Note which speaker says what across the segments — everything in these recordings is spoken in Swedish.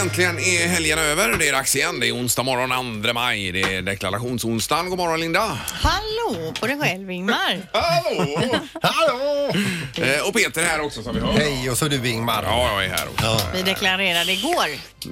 Speaker 1: Äntligen är helgen över. Det är dags igen. Det är onsdag morgon 2 maj. Det är deklarationsonsdagen. God morgon Linda!
Speaker 2: Hallå på dig själv Ingmar.
Speaker 1: Hallå!
Speaker 3: Hallå!
Speaker 1: eh, och Peter är här också som vi hör.
Speaker 3: Hej, och så du Ingmar.
Speaker 1: Ja, jag är här också.
Speaker 2: Vi deklarerade igår.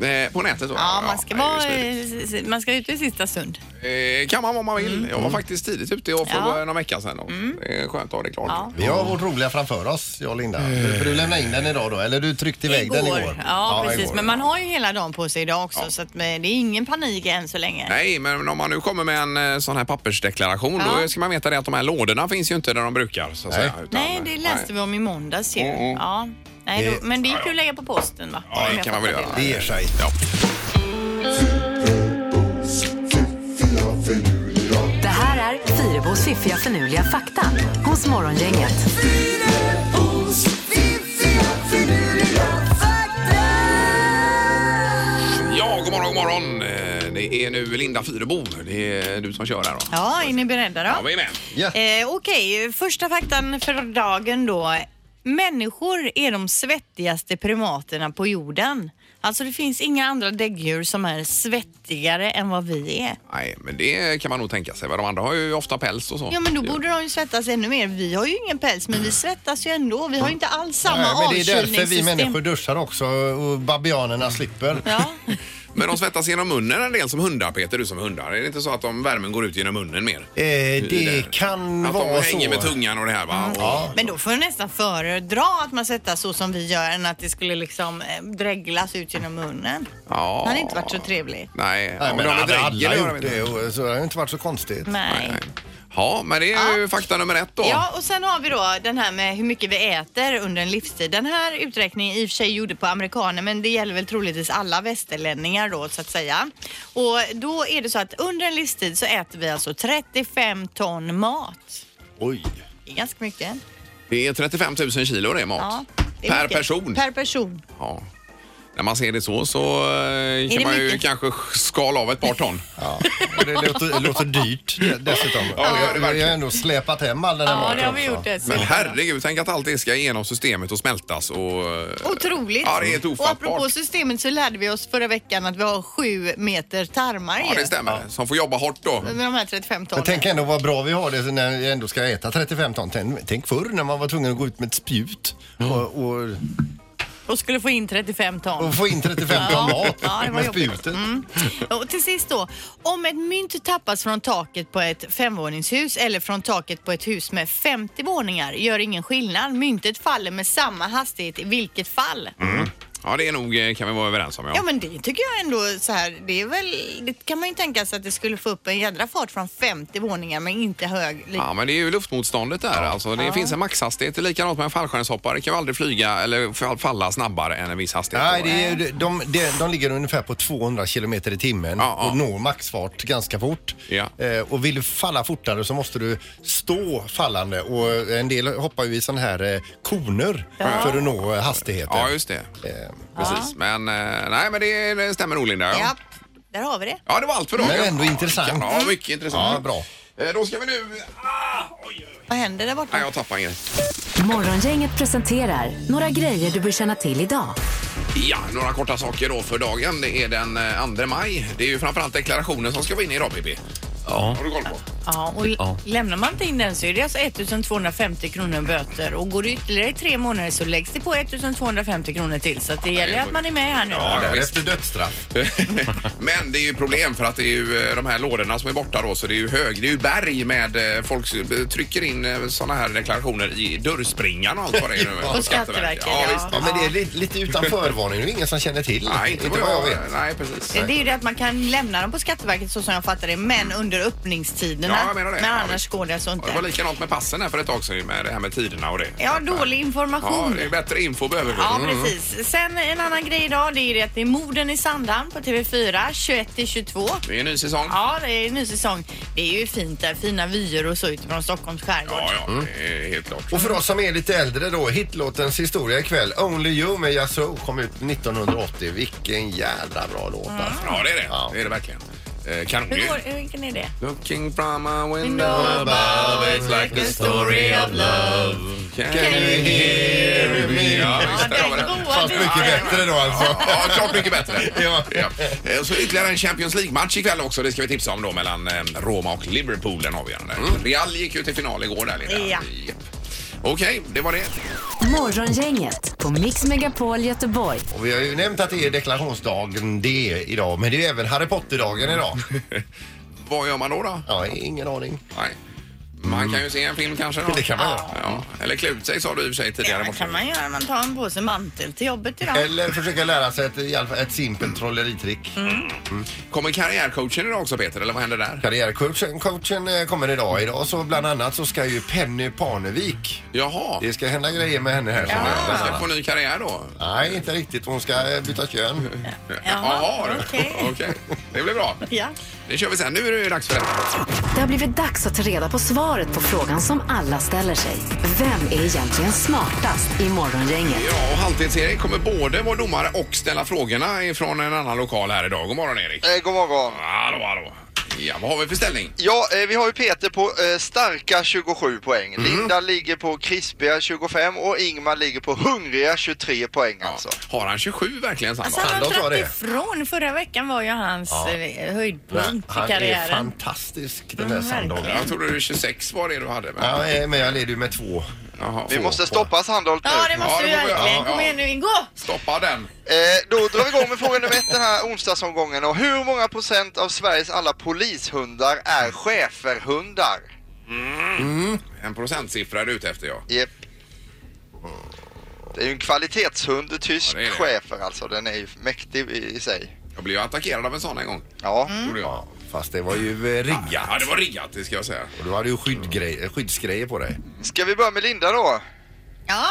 Speaker 1: Eh, på nätet då?
Speaker 2: Ja, man ska,
Speaker 1: det är ju
Speaker 2: vara,
Speaker 1: smidigt.
Speaker 2: eh, man ska ut i sista stund.
Speaker 1: Eh, kan man om man vill. Jag var faktiskt tidigt ute. Jag får
Speaker 2: Mm. Ja. Mm.
Speaker 1: ja. någon vecka sedan. Det är skönt att ha det klart.
Speaker 2: Ja.
Speaker 3: Vi har vårt roliga framför oss, jag och Linda. För du lämnade in den idag då, eller du tryckte iväg den igår.
Speaker 2: Eh. Ja, precis.
Speaker 3: igår.
Speaker 2: Men man har ju hela dagen på sig idag också
Speaker 1: Ja.
Speaker 2: så att, eh, det är ingen panik än så länge.
Speaker 1: Nej, men om man nu kommer med en eh, sån här pappersdeklaration då
Speaker 2: Ja.
Speaker 1: ska man veta det att de här lådorna finns ju inte där de brukar. Så att
Speaker 3: Nej.
Speaker 1: Säga, utan,
Speaker 2: Nej, det läste vi om i måndags ju.
Speaker 1: Mm, mm.
Speaker 2: Ja. Nej,
Speaker 3: Det-
Speaker 2: då, men det gick ju att lägga på posten va?
Speaker 1: Ja,
Speaker 2: Om
Speaker 1: det
Speaker 2: jag
Speaker 1: kan man väl
Speaker 2: fattar
Speaker 1: göra.
Speaker 3: Det ger sig.
Speaker 1: Ja.
Speaker 4: Det här är Fyrabos fiffiga förnuliga fakta hos Morgongänget.
Speaker 1: Ja, god morgon, god morgon. Eh, Det är nu Linda Fyrebo. Det är du som kör här då.
Speaker 2: Ja, är ni beredda då?
Speaker 1: Ja, vi är med.
Speaker 3: Ja.
Speaker 2: Eh, Okej, första faktan för dagen då. Människor är de svettigaste primaterna på jorden. Alltså det finns inga andra däggdjur som är svettigare än vad vi är.
Speaker 1: Nej, men det kan man nog tänka sig. va? De andra har ju ofta päls och så.
Speaker 2: Ja men då borde de ju svettas ännu mer. Vi har ju ingen päls men vi svettas ju ändå. Vi har ju inte alls samma
Speaker 3: Nej, men det är därför vi
Speaker 2: avkylningssystem.
Speaker 3: människor duschar också och babianerna slipper. Eh,
Speaker 2: Ja.
Speaker 1: Men de svettas genom munnen en del som hundar, Peter. Du som hundar. Är det inte så att de värmen går ut genom munnen mer?
Speaker 3: Eh,
Speaker 1: där.
Speaker 3: det kan
Speaker 1: Att
Speaker 3: vara
Speaker 1: de
Speaker 3: så. Mm.
Speaker 1: hänger med tungan och det här va? Och,
Speaker 2: Men då får jag nästan föredra att man svettas så som vi gör än att det skulle liksom eh, dreglas ut genom munnen.
Speaker 1: ja.
Speaker 2: Det hade inte varit så trevligt.
Speaker 1: Nej,
Speaker 3: Nej,
Speaker 1: om
Speaker 3: men
Speaker 1: de
Speaker 3: hade
Speaker 1: drägger,
Speaker 3: alla
Speaker 1: det gör de
Speaker 3: gjort
Speaker 1: inte.
Speaker 3: det och eh, så hade det inte varit så konstigt.
Speaker 2: Nej.
Speaker 1: Nej. Ja, men det är ju fakta nummer ett då.
Speaker 2: Ja, och sen har vi då den här med hur mycket vi äter under en livstid. Den här uträkningen i och för sig gjorde på amerikaner men det gäller väl troligtvis alla västerlänningar då så att säga. Och då är det så att under en livstid så äter vi alltså 35 ton mat.
Speaker 3: Oj.
Speaker 2: Det är ganska mycket.
Speaker 1: Det är 35 000 kilo det är mat.
Speaker 2: det är
Speaker 1: per
Speaker 2: mycket.
Speaker 1: person.
Speaker 2: Per person.
Speaker 1: Ja. När man ser det så så eh, kan
Speaker 2: det
Speaker 1: man ju
Speaker 2: mycket?
Speaker 1: kanske skala av ett par ton.
Speaker 3: Ja. Och det låter, det låter dyrt dessutom.
Speaker 1: det gör det
Speaker 3: vi har
Speaker 1: verkligen.
Speaker 3: ändå släpat hem all den här maten också.
Speaker 1: Men herregud, tänk att allt det ska igenom systemet och smältas och... eh,
Speaker 2: Otroligt.
Speaker 1: Ja, det är helt
Speaker 2: och
Speaker 1: ofattbart.
Speaker 2: apropå systemet så lärde vi oss förra veckan att vi har sju meter tarmar
Speaker 1: Ja,
Speaker 2: ju.
Speaker 1: det stämmer. Som får jobba hårt då.
Speaker 2: Med de här 35 tonen.
Speaker 3: Men tänk ändå vad bra vi har det när vi ändå ska äta 35 ton. Tänk, tänk förr när man var tvungen att gå ut med ett spjut och, och,
Speaker 2: Och skulle få in 35 ton.
Speaker 3: och få in 35
Speaker 2: Ja.
Speaker 3: ton mat
Speaker 2: Ja, det var
Speaker 3: med
Speaker 2: jobbigt. Mm.
Speaker 3: spjutet.
Speaker 2: Och till sist då, om ett mynt tappas från taket på ett femvåningshus eller från taket på ett hus med 50 våningar gör ingen skillnad. Myntet faller med samma hastighet i vilket fall.
Speaker 1: Mm. Ja, det är nog eh, kan vi vara överens om. Ja.
Speaker 2: Ja men det tycker jag ändå så här, det är väl, det kan man ju tänka sig att det skulle få upp en jädra fart från 50 våningar men inte hög.
Speaker 1: Ja, men det är ju luftmotståndet där. Alltså, det finns en maxhastighet. Det är likadant med en fallskärmshoppare. kan ju aldrig flyga eller fall- falla snabbare än en viss hastighet.
Speaker 3: Nej, det är, ju- de, de, de ligger ungefär på 200 kilometer i timmen
Speaker 1: Ja, ja.
Speaker 3: och når maxfart ganska fort.
Speaker 1: Ja.
Speaker 3: Eh, och vill du falla fortare så måste du stå fallande och en del hoppar ju i sådana här eh, koner för att nå eh, hastigheten.
Speaker 1: Ja, just det.
Speaker 3: Eh,
Speaker 1: Precis. Men, eh, nej, men det, det stämmer nog, Linda.
Speaker 2: Ja, där har vi det.
Speaker 1: Ja, det var allt för dagen.
Speaker 3: Men ändå
Speaker 1: Ja,
Speaker 3: intressant.
Speaker 1: Ja, mycket intressant.
Speaker 3: Ja, bra.
Speaker 1: Eh, Då ska vi nu... Ah, oj, oj.
Speaker 2: Vad händer där borta?
Speaker 1: Nej, jag tappade en grej.
Speaker 4: Morgongänget presenterar några grejer du bör känna till idag.
Speaker 1: Ja, några korta saker då för dagen. Det är den eh, 2 maj. Det är ju framförallt deklarationen som ska vara inne idag, Bibi.
Speaker 5: Ja.
Speaker 1: Har du koll på?
Speaker 2: Ja, och lämnar man inte in den så är det alltså 1250 kronor böter och går det ytterligare tre månader så läggs det på 1250 kronor till så att det gäller ju att man är med här nu.
Speaker 1: Ja, det är visst.
Speaker 3: Därefter dödsstraff.
Speaker 1: Men det är ju problem för att det är ju eh, de här lådorna som är borta då så det är ju hög, det är ju berg med eh, folk som, eh, trycker in eh, såna här deklarationer i dörrspringan och allt vad det är nu. eh,
Speaker 2: På Skatteverket,
Speaker 1: Ja,
Speaker 2: ja.
Speaker 1: visst.
Speaker 3: Ja, men det är lite, lite utan förvarning. Det är ingen som känner till.
Speaker 1: Nej, inte vad jag vet. Nej, precis.
Speaker 2: Det är ju det att man kan lämna dem på Skatteverket så som jag fattar det, men under öppningstiderna.
Speaker 1: Mm. Ja, jag menar det.
Speaker 2: Men
Speaker 1: Ja,
Speaker 2: annars
Speaker 1: visst.
Speaker 2: går det alltså
Speaker 1: Ja, Det var
Speaker 2: inte.
Speaker 1: likadant med passen här för ett tag sedan ju, med det här med tiderna och det.
Speaker 2: Ja, dålig
Speaker 1: Ja,
Speaker 2: information.
Speaker 1: det är bättre info behöver vi.
Speaker 2: Ja,
Speaker 1: Mm.
Speaker 2: precis. Sen en annan grej idag, det är ju det att det är morden i Sandhamn på TV4, 21 till 22.
Speaker 1: Det är en ny säsong.
Speaker 2: Ja, det är en ny säsong. Det är ju fint där, fina vyer och så utifrån Stockholms skärgård.
Speaker 1: Ja, ja, det är helt klart.
Speaker 3: Och för oss som är lite äldre då, hitlåtens historia ikväll. Only You med Yazoo kom ut 1980. Vilken jädra bra låt alltså.
Speaker 1: Ja, det är det.
Speaker 3: Ja.
Speaker 1: Det är det verkligen. Eh, Kanon
Speaker 2: Hur
Speaker 1: ju.
Speaker 2: går, hur- vilken är det?
Speaker 1: Looking from a window above It's like a story of love Can you hear me? Ja,
Speaker 2: Ja,
Speaker 1: visst,
Speaker 2: den
Speaker 1: där har vi den.
Speaker 2: är god.
Speaker 3: pass mycket bättre då alltså.
Speaker 1: Mm. Ja, klart mycket bättre.
Speaker 3: Ja.
Speaker 1: Ja. Eh, Så ytterligare en Champions League-match ikväll också. Det ska vi tipsa om då mellan eh, Roma och Liverpool, den avgörande. Real gick ju till final igår där lite.
Speaker 2: Ja.
Speaker 1: Japp. Okej, det var det.
Speaker 4: Morgongänget på Mix Megapol Göteborg.
Speaker 3: Och vi har ju nämnt att det är deklarationsdagen det idag, men det är ju även Harry Potter-dagen idag.
Speaker 1: Vad gör man då? då?
Speaker 3: Ja, ingen aning.
Speaker 1: Nej. Man kan ju se en film kanske. Då.
Speaker 3: Det kan man göra.
Speaker 1: Ja. Eller klä ut sig sa du i och för sig tidigare. i
Speaker 2: Ja, det
Speaker 1: morse.
Speaker 2: kan man göra. Man tar en påse mantel till jobbet idag.
Speaker 3: Eller försöka lära sig ett, i alla fall ett simpelt trolleritrick.
Speaker 2: Mm.
Speaker 1: Kommer karriärcoachen idag också Peter, eller vad händer där?
Speaker 3: Karriärcoachen coachen eh, kommer idag. Idag så bland annat så ska ju Penny Parnevik,
Speaker 1: Jaha,
Speaker 3: det ska hända grejer med henne här. som är
Speaker 1: man
Speaker 3: bland
Speaker 1: ska
Speaker 3: annat.
Speaker 1: få ny karriär då?
Speaker 3: Nej, inte riktigt. Hon ska eh, byta kön.
Speaker 1: Jaha,
Speaker 2: okej.
Speaker 1: okej. Det blir bra.
Speaker 2: Ja. Alltså,
Speaker 1: Det kör vi sen. Nu är det ju dags för det.
Speaker 4: Det har blivit dags att ta reda på svaret på frågan som alla ställer sig. Vem är egentligen smartast i Morgongänget?
Speaker 1: Ja, och Halvtids-Erik kommer både vara domare och ställa frågorna ifrån en annan lokal här idag. God morgon Erik!
Speaker 5: Eh, god morgon.
Speaker 1: Hallå, hallå! Ja, vad har vi för ställning?
Speaker 5: Ja, eh, vi har ju Peter på eh, starka 27 poäng.
Speaker 1: Mm.
Speaker 5: Linda ligger på krispiga 25 och Ingmar ligger på hungriga 23 poäng
Speaker 1: Ja.
Speaker 5: alltså.
Speaker 1: Har han 27 verkligen Sandra?
Speaker 2: Alltså han
Speaker 3: Fan, de
Speaker 2: har
Speaker 3: sa
Speaker 2: dragit
Speaker 3: det.
Speaker 2: ifrån. Förra veckan var ju hans eh, höjdpunkt i
Speaker 3: Han är
Speaker 2: karriären.
Speaker 3: fantastisk den där
Speaker 2: Mm,
Speaker 3: Sandholm.
Speaker 2: verkligen.
Speaker 1: Jag trodde du 26 var det du hade. Men...
Speaker 3: Ja, eh, men jag leder ju med två.
Speaker 1: Jaha,
Speaker 5: Vi
Speaker 1: få-
Speaker 5: måste stoppa Sandholt nu.
Speaker 2: Ja, det måste
Speaker 1: Ja, det
Speaker 2: vi
Speaker 1: får vi göra.
Speaker 2: verkligen.
Speaker 1: Ja,
Speaker 2: Kom
Speaker 1: ja.
Speaker 2: igen nu Ingo!
Speaker 1: Stoppa den!
Speaker 5: Eh, då drar vi igång med fråga nummer ett den här onsdagsomgången. Och hur många procent av Sveriges alla polishundar är schäferhundar?
Speaker 1: En procentsiffra är du ute efter ja.
Speaker 5: Jep. Det är ju en kvalitetshund, tysk
Speaker 1: Ja, det är det.
Speaker 5: schäfer alltså. Den är ju mäktig i, i sig.
Speaker 1: Jag blev ju attackerad av en sån en gång.
Speaker 5: Ja.
Speaker 2: Mm.
Speaker 1: Gjorde jag.
Speaker 3: Ja, fast det var ju eh, riggat.
Speaker 1: Ja, det var riggat det ska jag säga.
Speaker 3: Och du hade ju skyddgrej, eh, skyddsgrejer på dig.
Speaker 5: Ska vi börja med Linda då?
Speaker 2: Ja,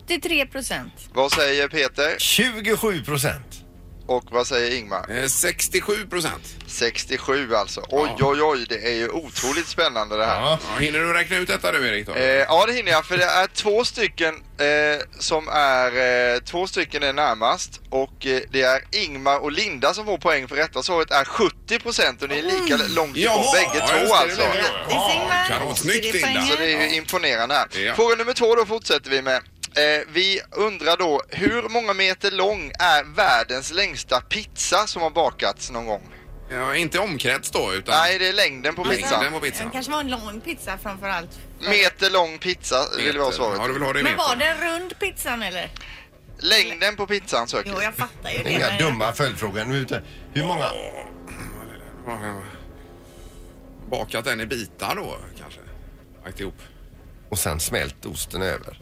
Speaker 2: 73 procent.
Speaker 5: Vad säger Peter
Speaker 3: 27 procent.
Speaker 5: och vad säger Ingmar?
Speaker 1: Eh, 67 procent.
Speaker 5: 67 alltså. Oj, oj, oj, det är ju otroligt spännande det här. Ja.
Speaker 3: Ja.
Speaker 1: Ja, hinner du räkna ut detta nu Erik? Då?
Speaker 5: Eh, ja, det hinner jag, för det är två stycken eh, som är... Eh, två stycken är närmast och eh, det är Ingmar och Linda som får poäng för rätta svaret är 70 procent och ni är lika långt ifrån bägge
Speaker 1: ja, just det,
Speaker 5: två alltså.
Speaker 1: det blev det.
Speaker 2: Grattis, Ingmar.
Speaker 1: kanon.
Speaker 2: Det är
Speaker 1: Snyggt Linda!
Speaker 2: poängen.
Speaker 5: Så det är ju imponerande. här.
Speaker 1: Ja.
Speaker 5: Fråga nummer två då fortsätter vi med. Eh, vi undrar då, hur många meter lång är världens längsta pizza som har bakats någon gång?
Speaker 1: Ja, inte omkrets då utan...
Speaker 5: Nej, det är längden på pizzan.
Speaker 1: Den var pizzan.
Speaker 2: Den kanske var en lång pizza framför allt.
Speaker 5: Meter lång pizza vill vara svaret.
Speaker 1: Ja, du vill ha det i
Speaker 2: Men var
Speaker 1: meter.
Speaker 2: det en rund pizzan eller?
Speaker 5: Längden på pizzan söker
Speaker 2: Jo,
Speaker 5: vi.
Speaker 2: jag fattar ju det.
Speaker 3: Inga
Speaker 2: men-
Speaker 3: dumma följdfrågor. Nu är det- Hur många?
Speaker 1: Ja, ja. Bakat den i bitar då kanske? Lagt ihop?
Speaker 3: Och sen smält osten över.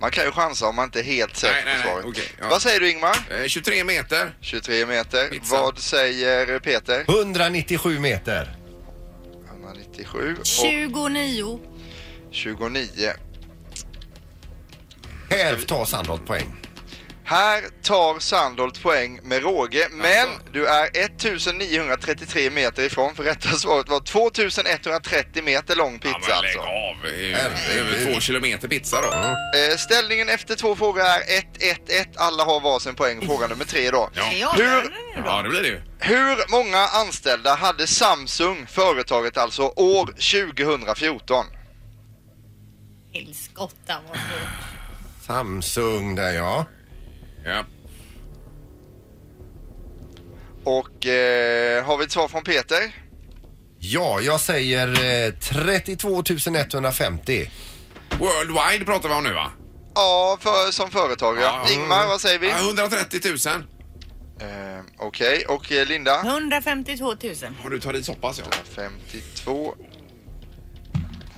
Speaker 5: Man kan ju chansa om man inte är helt
Speaker 1: Nej,
Speaker 5: säker
Speaker 1: nej,
Speaker 5: på
Speaker 1: nej,
Speaker 5: svaret.
Speaker 1: okej, ja.
Speaker 5: Vad säger du Ingmar?
Speaker 1: Eh, 23 meter.
Speaker 5: 23 meter.
Speaker 1: Pizza.
Speaker 5: Vad säger Peter?
Speaker 3: 197 meter.
Speaker 5: 197 och
Speaker 2: 29.
Speaker 5: 29.
Speaker 3: Här tar Sandholt poäng.
Speaker 5: Här tar Sandholt poäng med råge,
Speaker 1: Alltså.
Speaker 5: men du är 1933 meter ifrån för rätta svaret var 2130 meter lång pizza
Speaker 1: ja, men lägg
Speaker 5: alltså.
Speaker 1: av! Det är ju- det är över två kilometer pizza då.
Speaker 5: Eh, ställningen efter två frågor är 1-1-1. Alla har varsin poäng. Fråga nummer tre då.
Speaker 2: Det är
Speaker 1: Ja.
Speaker 2: avgörande nu då.
Speaker 1: ja, det blir det ju.
Speaker 5: Hur många anställda hade Samsung, företaget alltså, år 2014?
Speaker 2: Helskotta vad svårt.
Speaker 3: Samsung där ja.
Speaker 1: Ja.
Speaker 5: Och eh, har vi ett svar från Peter?
Speaker 3: Ja, jag säger eh, 32 150.
Speaker 1: Worldwide pratar vi om nu va?
Speaker 5: Ja, för, som företag ja.
Speaker 1: Ja.
Speaker 5: Ingmar, vad säger vi?
Speaker 1: Ja, 130 000.
Speaker 5: Eh, Okej, och eh, Linda?
Speaker 2: 152 000.
Speaker 1: Har du tagit i så pass ja.
Speaker 5: 52.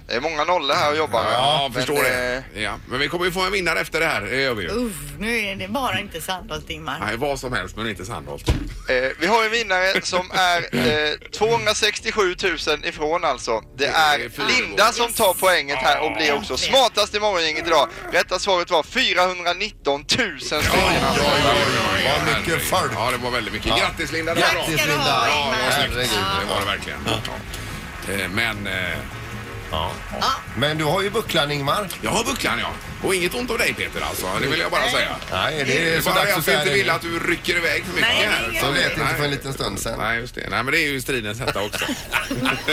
Speaker 5: Det är många nollor här och jobbar med.
Speaker 1: Ja,
Speaker 5: Men,
Speaker 1: förstår det.
Speaker 5: eh,
Speaker 1: Ja. Men vi kommer ju få en vinnare efter det här. Det gör vi ju.
Speaker 2: Uff, nu är det bara inte Sandholt Ingmar.
Speaker 1: Nej, vad som helst men inte Sandholt.
Speaker 5: Eh, vi har en vinnare som är eh, 267 000 ifrån alltså. Det är
Speaker 1: är fyra
Speaker 5: Linda
Speaker 1: gånger.
Speaker 5: som tar poänget här och blir också smartast i morgongänget idag. Rätta svaret var 419 000 stycken. alltså.
Speaker 3: Vad mycket folk.
Speaker 1: Ja, det var väldigt mycket. Grattis Linda! Det var
Speaker 2: Tack
Speaker 1: bra.
Speaker 2: ska du
Speaker 3: Linda.
Speaker 2: ha
Speaker 1: Ja,
Speaker 2: Ingmar.
Speaker 1: vad snyggt.
Speaker 3: Herregud.
Speaker 1: Det var det verkligen. Ja. Eh, Men... eh,
Speaker 3: Ja.
Speaker 2: Ja,
Speaker 3: Men du har ju bucklan Ingmar.
Speaker 1: Jag har bucklan ja. Och inget ont om dig Peter alltså. Det vill jag bara säga.
Speaker 3: Nej,
Speaker 1: Det är bara
Speaker 3: dags
Speaker 1: det
Speaker 3: att
Speaker 1: att
Speaker 3: säga
Speaker 1: vi inte
Speaker 3: det
Speaker 1: vill
Speaker 3: nu.
Speaker 1: att du rycker iväg för mycket
Speaker 2: Nej,
Speaker 1: här.
Speaker 2: nej,
Speaker 3: Så lät det inte
Speaker 1: Nej.
Speaker 3: för en liten stund sedan.
Speaker 1: Nej, just det. Nej, men det är ju stridens hetta också.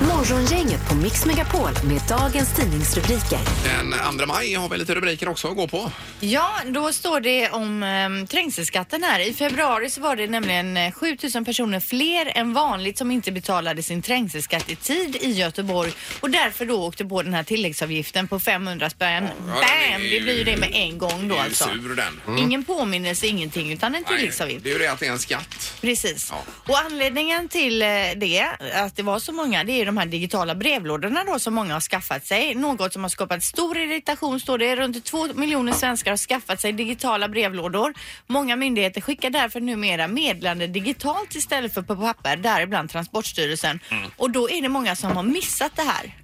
Speaker 4: Morgongänget på Mix Megapol med dagens tidningsrubriker.
Speaker 1: Den 2 maj har vi lite rubriker också att gå på.
Speaker 2: Ja, då står det om eh, trängselskatten här. I februari så var det nämligen eh, 7000 personer fler än vanligt som inte betalade sin trängselskatt i tid i Göteborg och därför då åkte på den här tilläggsavgiften på 500 spänn.
Speaker 1: Ja, det är
Speaker 2: Bam!
Speaker 1: ju-
Speaker 2: Det blir ju det med en gång
Speaker 1: Det är
Speaker 2: då
Speaker 1: ju
Speaker 2: alltså.
Speaker 1: sur den.
Speaker 2: Ingen påminnelse, ingenting utan en
Speaker 1: Nej,
Speaker 2: tilläggsavgift.
Speaker 1: det är ju det att det är en skatt.
Speaker 2: Precis.
Speaker 1: Ja.
Speaker 2: Och anledningen till eh, det, att det var så många, det är de här digitala brevlådorna då som många har skaffat sig. Något som har skapat stor irritation står det. Runt två miljoner svenskar har skaffat sig digitala brevlådor. Många myndigheter skickar därför numera meddelande digitalt istället för på papper, däribland Transportstyrelsen.
Speaker 1: Mm.
Speaker 2: Och då är det många som har missat det här.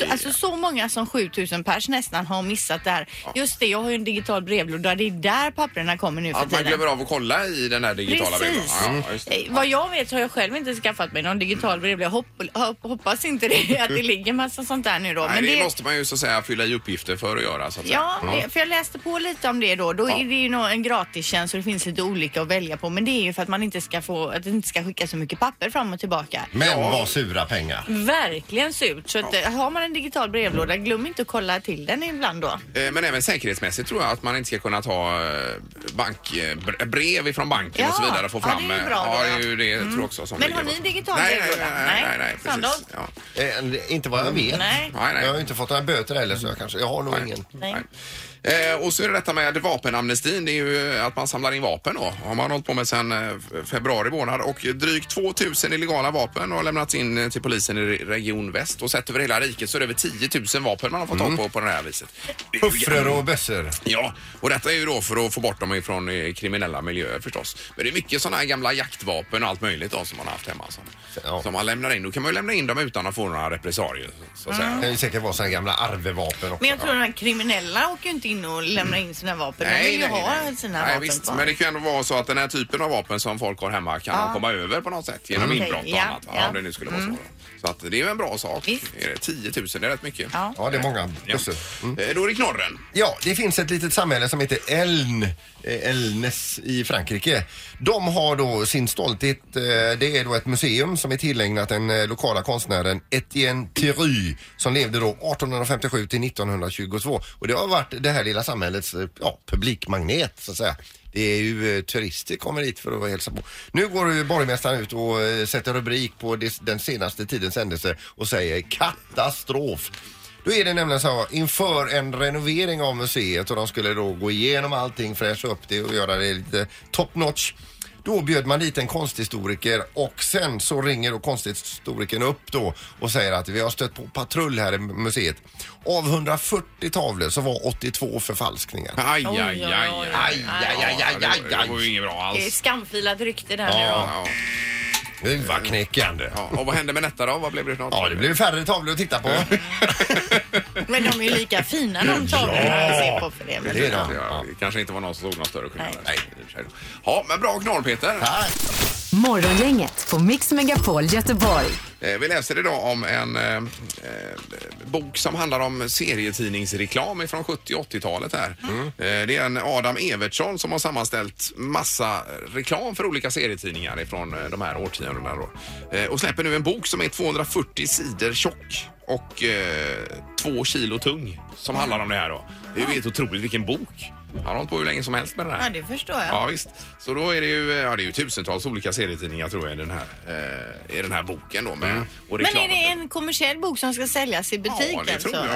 Speaker 2: Så, alltså så många som 7000 pers nästan har missat det här. Just det, jag har ju en digital brevlåda. Det är där papperna kommer nu för
Speaker 1: Att man
Speaker 2: tiden.
Speaker 1: glömmer av att kolla i den här digitala brevlådan.
Speaker 2: Precis.
Speaker 1: Ja, just det.
Speaker 2: Eh, Vad jag vet så har jag själv inte skaffat mig någon digital brevlåda. Jag hopp, hopp, hoppas inte det, att det ligger massa sånt där nu då.
Speaker 1: Nej, det, måste man ju så att säga fylla i uppgifter för att göra. Så att
Speaker 2: Ja,
Speaker 1: säga.
Speaker 2: det- för jag läste på lite om det då. Då
Speaker 1: Ja.
Speaker 2: är det ju nog en gratistjänst och det finns lite olika att välja på. Men det är ju för att man inte ska få, att det inte ska skicka så mycket papper fram och tillbaka.
Speaker 3: Men vad sura pengar.
Speaker 2: Verkligen surt. Så att, eh, har man en digital brevlåda, glöm inte att kolla till den ibland då.
Speaker 1: Eh, Men även säkerhetsmässigt tror jag att man inte ska kunna ta eh, bank, eh, bre- brev ifrån banken
Speaker 2: Ja,
Speaker 1: och så vidare och få
Speaker 2: ja,
Speaker 1: fram.
Speaker 2: det är
Speaker 1: eh,
Speaker 2: bra
Speaker 1: ja,
Speaker 2: då,
Speaker 1: det är
Speaker 2: ja. Mm.
Speaker 1: ju det tror jag också som
Speaker 2: Men har
Speaker 1: ligger
Speaker 2: ni
Speaker 1: bakom.
Speaker 2: digital
Speaker 1: nej, nej,
Speaker 2: brevlåda?
Speaker 1: nej, nej,
Speaker 2: Nej.
Speaker 1: nej,
Speaker 2: Sandholt?
Speaker 1: precis. Ja.
Speaker 3: Eh, inte vad jag vet.
Speaker 2: Nej.
Speaker 1: Nej, nej.
Speaker 3: Jag har ju inte fått några böter heller så jag kanske, jag har nog ingen.
Speaker 2: Nej.
Speaker 1: Nej. Eh, och så är det detta med vapenamnestin. Det är ju eh, att man samlar in vapen då. Har man hållit på med sedan eh, f- februari månad och drygt 2000 illegala vapen har lämnats in eh, till polisen i re- region väst och sett över hela riket så är det över 10 000 vapen man har fått tag på på det här viset. Det är ju
Speaker 3: Puffror Mm. och bössor.
Speaker 1: Ja, och detta är ju då för att få bort dem ifrån eh, kriminella miljöer förstås. Men det är mycket sådana här gamla jaktvapen och allt möjligt då, som man har haft hemma som,
Speaker 3: Ja.
Speaker 1: som man lämnar in. Då kan man ju lämna in dem utan att få några repressalier. Så att
Speaker 3: Det
Speaker 1: säga.
Speaker 3: kan ju säkert vara sådana gamla arvevapen också.
Speaker 2: Men jag tror de här kriminella åker ju inte in och lämnar in sina vapen. de vill ju ha sina
Speaker 1: nej
Speaker 2: vapen
Speaker 1: visst.
Speaker 2: kvar.
Speaker 1: Men det kan ju vara så att den här typen av vapen som folk har hemma kan de komma över på något sätt genom
Speaker 2: Mm.
Speaker 1: inbrott och
Speaker 2: Okej, ja,
Speaker 1: annat. Ja,
Speaker 2: ja. Mm.
Speaker 1: Om det nu skulle vara så. Så att det är ju en bra sak.
Speaker 2: Visst.
Speaker 1: Är det 10 000, det är rätt mycket.
Speaker 2: Ja.
Speaker 3: Ja, det Mm. är många
Speaker 1: Ja.
Speaker 3: bössor.
Speaker 1: Eh, Då är det knorren.
Speaker 3: Ja, det finns ett litet samhälle som heter Eln, eh, Elnes i Frankrike. De har då sin stolthet. eh, Det är då ett museum som är tillägnat den eh, lokala konstnären Etienne Thiry som levde då 1857 till 1922. Och det har varit det här lilla samhällets eh, ja, publikmagnet så att säga. Det är ju eh, turister kommer hit för att hälsa på. Nu går ju borgmästaren ut och eh, sätter rubrik på det- den senaste tidens händelse och säger katastrof. Då är det nämligen så inför en renovering av museet och de skulle då gå igenom allting, fräscha upp det och göra det lite top notch. Då bjöd man dit en konsthistoriker och sen så ringer då konsthistorikern upp då och säger att vi har stött på patrull här i museet. Av 140 tavlor så var 82 förfalskningar.
Speaker 1: Aj, aj,
Speaker 2: Oj,
Speaker 1: aj,
Speaker 2: oj,
Speaker 1: aj.
Speaker 2: oj.
Speaker 3: aj, aj, aj,
Speaker 1: Ja,
Speaker 3: aj,
Speaker 1: det var- Det var ju
Speaker 3: aj.
Speaker 1: inget bra
Speaker 2: Det är
Speaker 1: alls.
Speaker 2: skamfilat rykte där nu då.
Speaker 1: Ja.
Speaker 3: Det var knäckande.
Speaker 1: Ja, och vad hände med detta då? Vad blev det för något?
Speaker 3: Ja, det blev färre tavlor att titta på.
Speaker 2: Men de är ju lika fina de tavlorna att se på för det. Men
Speaker 3: Det är de.
Speaker 1: Ja, det kanske inte var någon som såg någon större skillnad.
Speaker 2: Nej.
Speaker 1: Nej. Nej. Ja, men bra knorr Peter.
Speaker 3: Tack.
Speaker 4: Morgongänget på Mix Megapol Göteborg.
Speaker 1: Eh, Vi läser idag om en eh, eh, bok som handlar om serietidningsreklam från 70 och 80-talet här.
Speaker 2: Mm.
Speaker 1: Eh, det är en Adam Evertsson som har sammanställt massa reklam för olika serietidningar från de här årtiondena då. Eh, och släpper nu en bok som är 240 sidor tjock och eh, två kilo tung
Speaker 2: Mm.
Speaker 1: som handlar om det här då. Det är ju helt otroligt vilken bok. Han har hållit på hur länge som helst med den här.
Speaker 2: Ja, det förstår jag.
Speaker 1: Ja, visst. Så då är det ju, eh, ja, det är ju tusentals olika serietidningar tror jag i den här, eh, i den här boken då. Med,
Speaker 3: Mm.
Speaker 1: och
Speaker 2: Men är
Speaker 1: reklamen.
Speaker 2: det en kommersiell bok som ska säljas i butik
Speaker 1: Ja, det
Speaker 2: alltså?
Speaker 1: tror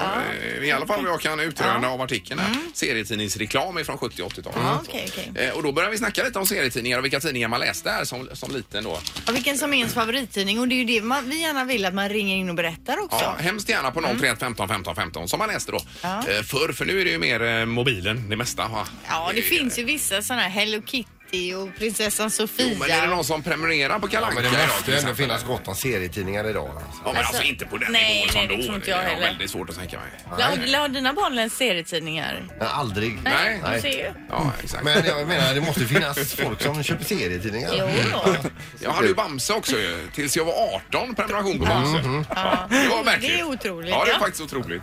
Speaker 1: jag. Eh, I alla fall vad jag kan utröna av artikeln här. Serietidningsreklam från 70 och 80-talet.
Speaker 2: Mm. Ja,
Speaker 1: Så.
Speaker 2: okej, okej.
Speaker 1: Eh, Och då börjar vi snacka lite om serietidningar och vilka tidningar man läste här som, som liten då.
Speaker 2: Och vilken som är ens favorittidning och det är ju det man, vi gärna vill att man ringer in och berättar också.
Speaker 1: Ja, hemskt gärna på 031 15 15 15 som man läste då.
Speaker 2: Mm. Ja.
Speaker 1: Eh, Förr, för nu är det ju mer eh, mobilen det mesta. Va?
Speaker 2: Ja, det finns ju vissa sådana här Hello Kitty Titti och prinsessan Sofia.
Speaker 1: Jo, men är det någon som prenumererar på Kalle
Speaker 3: Ja, men
Speaker 1: Anka
Speaker 3: det
Speaker 1: idag, till
Speaker 3: måste ju ändå
Speaker 1: exempel?
Speaker 3: finnas gott om serietidningar idag. Alltså.
Speaker 1: Ja, men alltså inte på den
Speaker 2: Nej,
Speaker 1: nivån som
Speaker 2: nej, det
Speaker 1: då.
Speaker 2: tror inte jag
Speaker 1: Det är
Speaker 2: heller.
Speaker 1: väldigt svårt att tänka mig.
Speaker 2: La, la dina barn läst serietidningar?
Speaker 3: Nej, aldrig.
Speaker 1: Nej.
Speaker 2: Du ser ju.
Speaker 1: Ja, exakt.
Speaker 3: Men jag menar, det måste ju finnas folk som köper serietidningar.
Speaker 2: Jo då.
Speaker 1: Jag hade ju Bamse också ju, tills jag var 18, prenumeration på Bamse. Ja, det var märkligt.
Speaker 2: Det är otroligt,
Speaker 1: Ja, det är
Speaker 2: ja.
Speaker 1: faktiskt otroligt.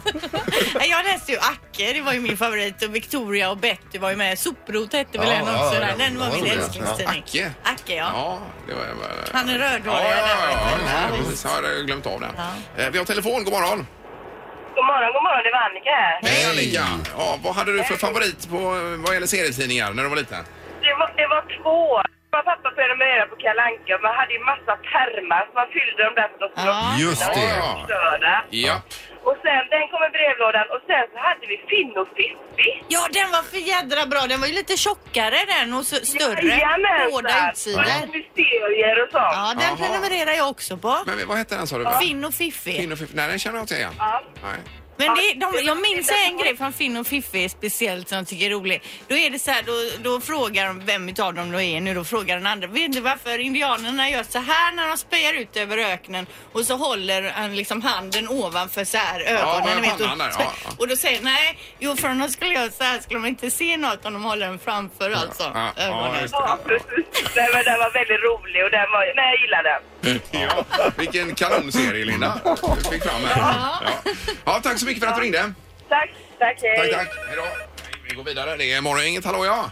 Speaker 2: Nej, Jag läste ju Acke, det var ju min favorit. Och Victoria och Betty var ju med. Soprot hette väl
Speaker 3: Ja,
Speaker 2: en också.
Speaker 3: ja,
Speaker 2: där.
Speaker 3: ja,
Speaker 2: Den var
Speaker 3: ja,
Speaker 2: min
Speaker 3: ja.
Speaker 2: älsklingstidning.
Speaker 1: Acke.
Speaker 2: Acke, ja.
Speaker 1: Ja, det var... det var-
Speaker 2: Han är
Speaker 1: Ja,
Speaker 2: rödhårig.
Speaker 1: ja,
Speaker 2: där,
Speaker 1: ja,
Speaker 2: vet du.
Speaker 1: ja, ja,
Speaker 2: visst.
Speaker 1: precis. Jag hade glömt av det. Eh, Vi har telefon, god morgon.
Speaker 6: God morgon, god morgon. Det var Annika här.
Speaker 1: Hej Annika! Ja, vad hade du för favorit på, eh, vad gäller serietidningar när du var liten?
Speaker 6: Det var, det var två. Mamma och pappa prenumererade på Kalle Anka. Man hade ju massa pärmar som man fyllde dem där för att de skulle
Speaker 2: Ja.
Speaker 6: vara
Speaker 3: Just det.
Speaker 1: Ja,
Speaker 6: förstörda.
Speaker 1: ja.
Speaker 6: Och sen, den kom i brevlådan och sen så hade vi Finn och Fippi.
Speaker 2: Ja, den var för jädra bra. Den var ju lite tjockare den och s- större.
Speaker 6: Jajamensan.
Speaker 2: Hårda
Speaker 6: Massa
Speaker 2: utsidor.
Speaker 6: Mysterier och sånt.
Speaker 2: Ja,
Speaker 1: Jaha.
Speaker 2: den prenumererar jag också på.
Speaker 1: Men vad hette den sa du?
Speaker 2: Finn och Fiffi.
Speaker 1: Finn och Fiff. Nej, den känner jag inte igen.
Speaker 6: Ja.
Speaker 1: Nej.
Speaker 2: Men det, de, jag minns en grej från Finn och Fiffi speciellt som jag tycker är rolig. Då är det så här, då, då frågar de vem utav dem då är nu, då frågar den andra. Vet du varför indianerna gör så här när de spejar ut över öknen? Och så håller han liksom handen ovanför så här ögonen.
Speaker 1: Ja,
Speaker 2: ni vet,
Speaker 1: pannan
Speaker 2: och,
Speaker 1: där, ja, ja.
Speaker 2: och då säger nej, jo för om de skulle göra så här skulle de inte se något om de håller den framför alltså.
Speaker 1: ja, ja,
Speaker 2: ögonen.
Speaker 1: just det.
Speaker 6: Ja, precis. Nej, men den var väldigt rolig och den var... Nej, jag gillade den.
Speaker 1: Ja. Vilken kanonserie Linda du fick fram här. Ja. Ja, tack så mycket för att du ringde.
Speaker 6: Tack, tack, hej.
Speaker 1: Tack, tack. Hej då. Vi går vidare. Det är Morgongänget. Hallå ja.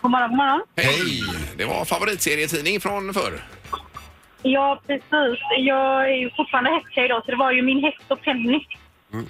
Speaker 7: God morgon, god morgon.
Speaker 1: Hej. Det var favoritserietidning från förr.
Speaker 7: Ja, precis. Jag är ju fortfarande hästtjej då, så det var ju min häst och Penny.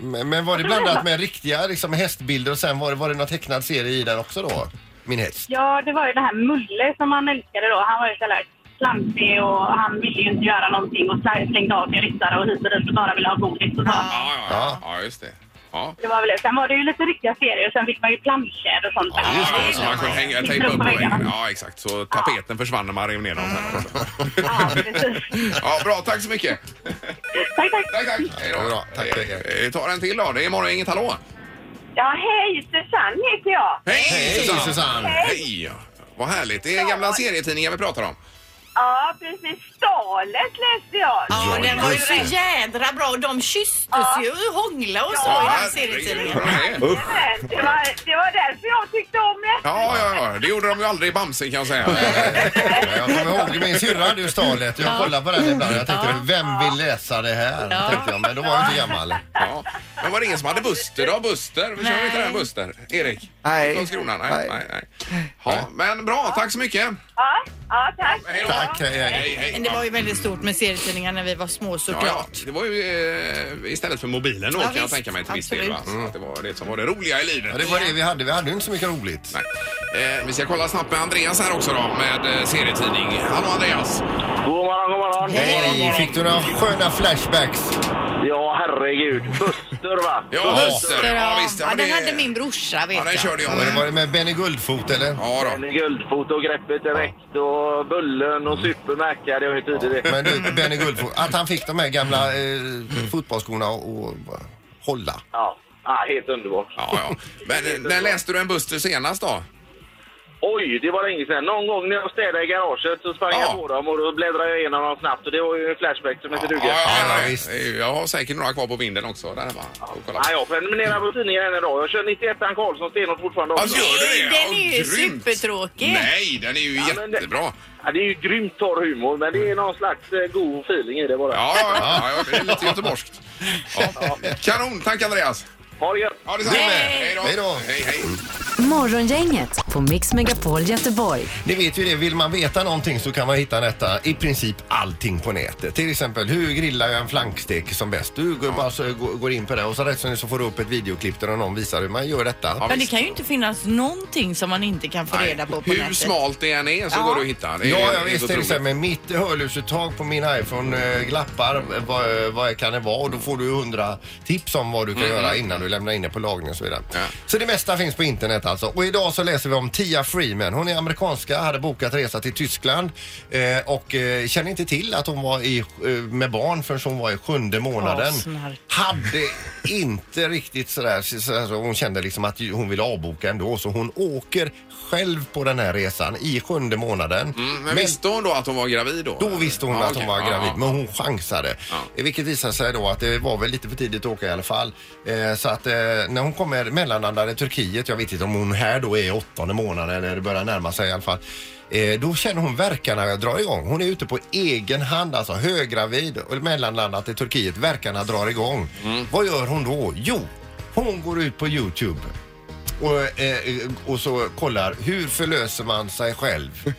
Speaker 3: Men, men var det blandat med riktiga liksom, hästbilder och sen var det, var det någon tecknad serie i den också då? Min häst.
Speaker 7: Ja, det var ju det här Mulle som han älskade då. Han var ju så här klantig och han ville ju inte göra någonting och sla- slängde av sig ryttare och hit och dit och bara ville ha godis och så.
Speaker 1: Ja, ja, ja. ja just det. Ja.
Speaker 7: Det var väl det. Sen var det ju lite riktiga serier, sen fick man ju planscher och sånt
Speaker 1: Ja,
Speaker 7: där.
Speaker 1: just det. Så man kunde hänga, tejpa upp på väggen. Ja, exakt. Så tapeten försvann när man rev ner dem. sen också.
Speaker 7: Ja, precis.
Speaker 1: Ja, bra. Tack så mycket.
Speaker 7: Tack, tack.
Speaker 1: Tack, tack. Hej då.
Speaker 3: Ja, bra. Tack, tack, tack.
Speaker 1: Eh, Vi tar en till då. Det är Morgongänget. Hallå.
Speaker 6: Ja, hej. Susanne heter jag.
Speaker 3: Hej Susanne!
Speaker 1: Hej! Vad härligt. Det är gamla serietidningar vi pratar om.
Speaker 6: Ja, precis. Stalet läste jag.
Speaker 2: Ja, den var ju
Speaker 3: just
Speaker 2: så jädra bra och de kysstes ju och hånglade och så i den serietidningen.
Speaker 1: Ja,
Speaker 6: Jajamän, Det var, det var därför jag tyckte om det.
Speaker 1: ja, ja. Det gjorde de ju aldrig i Bamse kan jag säga.
Speaker 3: Jag kommer ihåg min syrra hade ju stalet. Jag kollade på den ibland. Jag tänkte, vem vill läsa det här? Tänkte jag, men då var jag inte gammal.
Speaker 1: Ja. Men var det ingen som hade Buster då? Buster? Vi kör inte den Buster. Erik?
Speaker 8: Nej.
Speaker 1: Från Skronan? Nej. nej, nej. Ja, men bra. Tack så mycket.
Speaker 6: Ja, ja tack.
Speaker 1: Hej då.
Speaker 3: Tack, hej, hej.
Speaker 1: Hej, hej.
Speaker 2: Men det var ju väldigt stort med serietidningar när vi var små
Speaker 1: Ja, ja,
Speaker 2: såklart.
Speaker 1: det var ju eh, istället för mobilen då
Speaker 2: Ja,
Speaker 1: kan jag
Speaker 2: visst.
Speaker 1: tänka mig till viss del. Va?
Speaker 2: Absolut.
Speaker 1: Så att det var det som var det roliga i livet.
Speaker 3: Ja, det var det vi hade. Vi hade ju inte så mycket roligt.
Speaker 1: Nej. Eh, vi ska kolla snabbt med Andreas här också då med eh, serietidning. Hallå Andreas!
Speaker 9: God morgon, god morgon.
Speaker 3: Hej! Fick du några sköna flashbacks?
Speaker 9: Ja, herregud. Buster, va?
Speaker 1: Ja,
Speaker 2: Så,
Speaker 1: Buster!
Speaker 2: ja,
Speaker 1: visst.
Speaker 2: ja,
Speaker 1: men
Speaker 2: den hade min brorsa vet
Speaker 1: Ja, den
Speaker 2: jag.
Speaker 1: körde jag
Speaker 3: Var det, var
Speaker 1: med.
Speaker 3: det med Benny Guldfot eller?
Speaker 1: Ja, då.
Speaker 9: Benny Guldfot och Greppet Direkt och Bullen och Supermac hade jag ju tidigare.
Speaker 3: Men du, Benny Guldfot, att han fick de här gamla eh, fotbollsskorna och, och hålla.
Speaker 9: Ja, ah, helt underbart.
Speaker 1: Ja, ja. Men eh, när läste du en Buster senast då?
Speaker 9: Oj, det var länge sedan. Någon gång när jag städade i garaget så sprang
Speaker 1: Ja.
Speaker 9: jag på dem och då bläddrade jag igenom dem snabbt och det var ju en flashback som inte duger.
Speaker 1: ja,
Speaker 3: Ja,
Speaker 1: ja,
Speaker 3: visst.
Speaker 1: ja. Jag har säkert några kvar på vinden också. Där hemma. Och kolla.
Speaker 9: Nej, jag prenumererar på tidningen än idag. Jag kör 91 Karlsson stenhårt fortfarande också.
Speaker 1: Alltså, gör du det?
Speaker 2: Den är ju
Speaker 1: Ja, grymt.
Speaker 2: supertråkig.
Speaker 1: Nej, den är ju
Speaker 9: Ja, men det-
Speaker 1: jättebra.
Speaker 9: Ja, det är ju grymt torr humor, men det är någon slags eh, god feeling i det bara.
Speaker 1: Ja, ja, ja, ja, det är lite göteborgskt. Ja. Kanon, tack Andreas!
Speaker 9: Ha det gött!
Speaker 1: Ja, detsamma! Hej
Speaker 3: Hej då.
Speaker 1: Hej, hej!
Speaker 4: Morgongänget på Mix Megapol Göteborg.
Speaker 3: Ni vet ju det, vill man veta någonting så kan man hitta detta i princip allting på nätet. Till exempel, hur grillar jag en flankstek som bäst? Du går, bara så, går, går in på det och så rätt som det är så får du upp ett videoklipp där någon visar hur man gör detta.
Speaker 1: Ja,
Speaker 2: Men det
Speaker 1: visst.
Speaker 2: kan ju inte finnas någonting som man inte kan få
Speaker 1: Nej.
Speaker 2: reda på på
Speaker 1: Hur
Speaker 2: nätet.
Speaker 1: smalt det än är så går det att hitta. Det är,
Speaker 3: Ja,
Speaker 1: det
Speaker 3: jag
Speaker 1: är
Speaker 3: visst.
Speaker 1: så
Speaker 3: Till
Speaker 1: otroligt.
Speaker 3: exempel mitt hörlursuttag på min iPhone eh, glappar. eh, Vad, eh, vad kan det vara? Och då får du hundra tips om vad du kan göra innan du lämnar in det på lagring och så vidare.
Speaker 1: Mm. Ja.
Speaker 3: Så det mesta finns på internet rätt alltså. Och idag så läser vi om Tia Freeman. Hon är amerikanska, hade bokat resa till Tyskland eh, och eh, kände inte till att hon var i, eh, med barn förrän hon var i sjunde månaden.
Speaker 2: Asnark.
Speaker 3: hade inte riktigt sådär, så- så- så hon kände liksom att hon ville avboka ändå så hon åker själv på den här resan i sjunde månaden.
Speaker 1: Mm, men visste hon då att hon var gravid då?
Speaker 3: Då visste hon
Speaker 1: Ja,
Speaker 3: att
Speaker 1: okej.
Speaker 3: hon var
Speaker 1: Ja,
Speaker 3: gravid,
Speaker 1: ja.
Speaker 3: men hon chansade.
Speaker 1: Ja.
Speaker 3: Vilket visade sig då att det var väl lite för tidigt att åka i alla fall. Eh, så att eh, när hon kommer mellanlandar i Turkiet, jag vet inte om hon här då är i åttonde månaden eller det börjar närma sig i alla fall. Eh, då känner hon verkarna dra igång. Hon är ute på egen hand, alltså höggravid och mellanlandat i Turkiet. Verkarna drar igång.
Speaker 1: Mm.
Speaker 3: Vad gör hon då? Jo, hon går ut på Youtube och, eh, och så kollar hur förlöser man sig själv.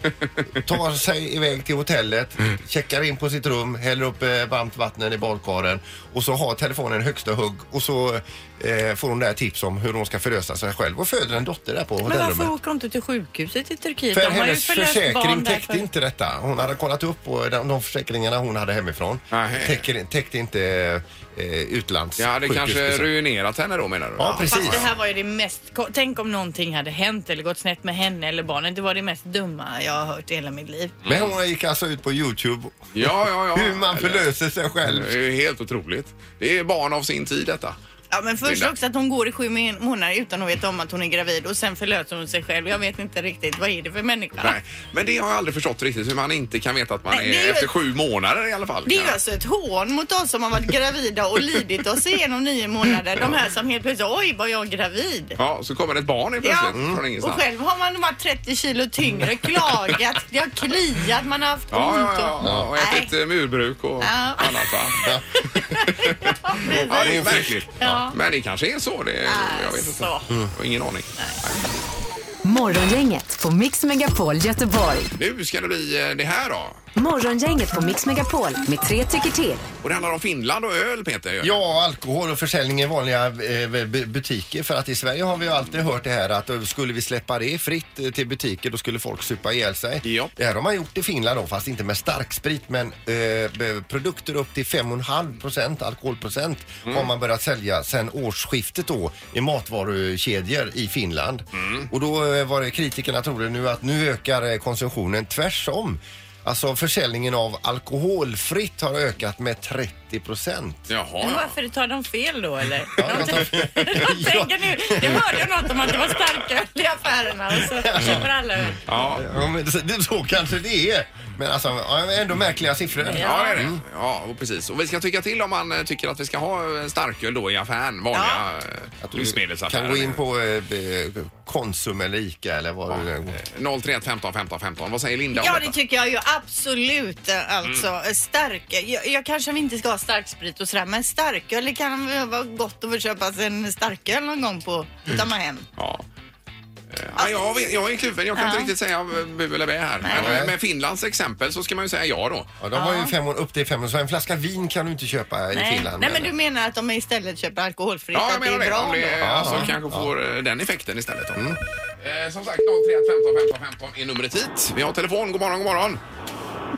Speaker 3: Tar sig iväg till hotellet,
Speaker 1: Mm.
Speaker 3: checkar in på sitt rum, häller upp eh, varmt vatten i badkaren och så har telefonen högsta hugg och så eh, får hon där tips om hur hon ska förlösa sig själv och föder en dotter där på
Speaker 2: Men
Speaker 3: hotellrummet.
Speaker 2: varför åker hon inte till sjukhuset i Turkiet?
Speaker 3: För
Speaker 2: De har ju
Speaker 3: hennes
Speaker 2: förlöst
Speaker 3: försäkring
Speaker 2: barn där
Speaker 3: täckte
Speaker 2: för-
Speaker 3: inte detta. Hon hade kollat upp och de, de försäkringarna hon hade hemifrån
Speaker 1: Nähä.
Speaker 3: täcker, täckte inte eh, utlands
Speaker 1: Det hade kanske
Speaker 3: sjukhusbesök.
Speaker 1: ruinerat henne då menar du?
Speaker 3: Ja, precis.
Speaker 2: Fast det här var ju det mest... ko- Tänk om någonting hade hänt eller gått snett med henne eller barnet. Det var det mest dumma jag har hört i hela mitt liv.
Speaker 3: Men hon gick alltså ut på Youtube.
Speaker 1: Ja, ja, ja.
Speaker 3: Hur man förlöser sig själv.
Speaker 1: Det är ju helt otroligt. Det är barn av sin tid detta.
Speaker 2: Ja men först
Speaker 1: Linda.
Speaker 2: också att hon går i sju min- månader utan att veta om att hon är gravid och sen förlöser hon sig själv. Jag vet inte riktigt, vad är det för människa?
Speaker 1: Nej, men det har jag aldrig förstått riktigt hur man inte kan veta att man
Speaker 2: Nej,
Speaker 1: är,
Speaker 2: det är ju-
Speaker 1: efter sju månader i alla fall.
Speaker 2: Det är
Speaker 1: kan
Speaker 2: ju alltså ett hån mot oss som har varit gravida och lidit oss igenom nio månader. De här som helt plötsligt, oj var jag gravid?
Speaker 1: Ja, så kommer det ett barn i
Speaker 2: Ja,
Speaker 1: plötsligt mm, från
Speaker 2: och
Speaker 1: ingenstans.
Speaker 2: själv har man varit 30 kilo tyngre, klagat, det har kliat, man har haft
Speaker 1: Ja,
Speaker 2: ont.
Speaker 1: ja, ja, ja.
Speaker 2: och-
Speaker 1: Och ätit eh, murbruk och
Speaker 2: Ja.
Speaker 1: annat va?
Speaker 2: Ja, precis.
Speaker 1: Ja, det är verkligt.
Speaker 2: Ja.
Speaker 1: Men det kanske är så. Det, jag vet inte. Mm.
Speaker 2: Alltså.
Speaker 1: Jag har ingen aning.
Speaker 4: Morgongänget på Mix Megapol Göteborg.
Speaker 1: Nu ska det bli eh, det här då.
Speaker 4: Morgongänget på Mix Megapol med tre tycker till.
Speaker 1: Och det handlar om Finland och öl Peter.
Speaker 3: Ja, alkohol och försäljning i vanliga eh, bu- butiker. För att i Sverige har vi ju alltid hört det här att eh, skulle vi släppa det fritt eh, till butiker då skulle folk supa ihjäl sig.
Speaker 1: Ja.
Speaker 3: Det här har man gjort i Finland då, fast inte med starksprit men eh, b- produkter upp till 5,5 procent alkoholprocent har man börjat sälja sedan årsskiftet då i matvarukedjor i Finland. Och då eh, var det kritikerna trodde nu att nu ökar eh, konsumtionen tvärsom. Alltså försäljningen av alkoholfritt har ökat med 30 procent.
Speaker 1: Jaha,
Speaker 2: Men
Speaker 1: ja.
Speaker 2: varför tar de fel då eller?
Speaker 3: Ja,
Speaker 2: De
Speaker 3: jag
Speaker 2: tänker- de tänker nu, jag hörde jag något om att det var starköl i affärerna och så köper alla öl.
Speaker 1: Ja.
Speaker 3: Ja, men så, det, så kanske det är. Men alltså, ja, ändå märkliga siffror.
Speaker 1: Ja, det är det. Ja, och precis. Och vi ska tycka till om man eh, tycker att vi ska ha eh, starköl då i affären, vanliga ja.
Speaker 3: Att du kan
Speaker 1: livsmedelsaffärer.
Speaker 3: gå in på eh, b- Konsum eller Ica eller vad det nu är.
Speaker 1: 031 15 15 15. Vad säger Linda om
Speaker 2: Ja, det
Speaker 1: detta?
Speaker 2: tycker jag ju absolut. eh, Alltså,
Speaker 1: Mm.
Speaker 2: stark. Jag, jag kanske inte ska ha starksprit och sådär, men starköl det kan väl vara gott att få köpa sig en starköl någon gång på
Speaker 1: Mm.
Speaker 2: ta med hem.
Speaker 1: Ja. Eh, Ja, jag, vet, jag är kluven. Jag kan inte
Speaker 2: Ja.
Speaker 1: riktigt säga eh, bu eller bä här. Men eh, med Finlands exempel så ska man ju säga ja då.
Speaker 3: Ja, de har ju fem, upp till 500, så en flaska vin kan du inte köpa i
Speaker 2: Nej.
Speaker 3: Finland.
Speaker 2: Nej, men
Speaker 3: eller?
Speaker 2: du menar att de istället köper alkoholfritt?
Speaker 1: Ja,
Speaker 2: att
Speaker 1: jag menar
Speaker 2: det är
Speaker 1: det.
Speaker 2: bra
Speaker 1: Om det
Speaker 2: då?
Speaker 1: alltså,
Speaker 3: Ja.
Speaker 1: kanske
Speaker 3: Ja. Mm.
Speaker 1: får eh, den effekten istället. då. Eh, som sagt, 031 15 15 15 är numret hit. Vi har telefon. God morgon, god morgon.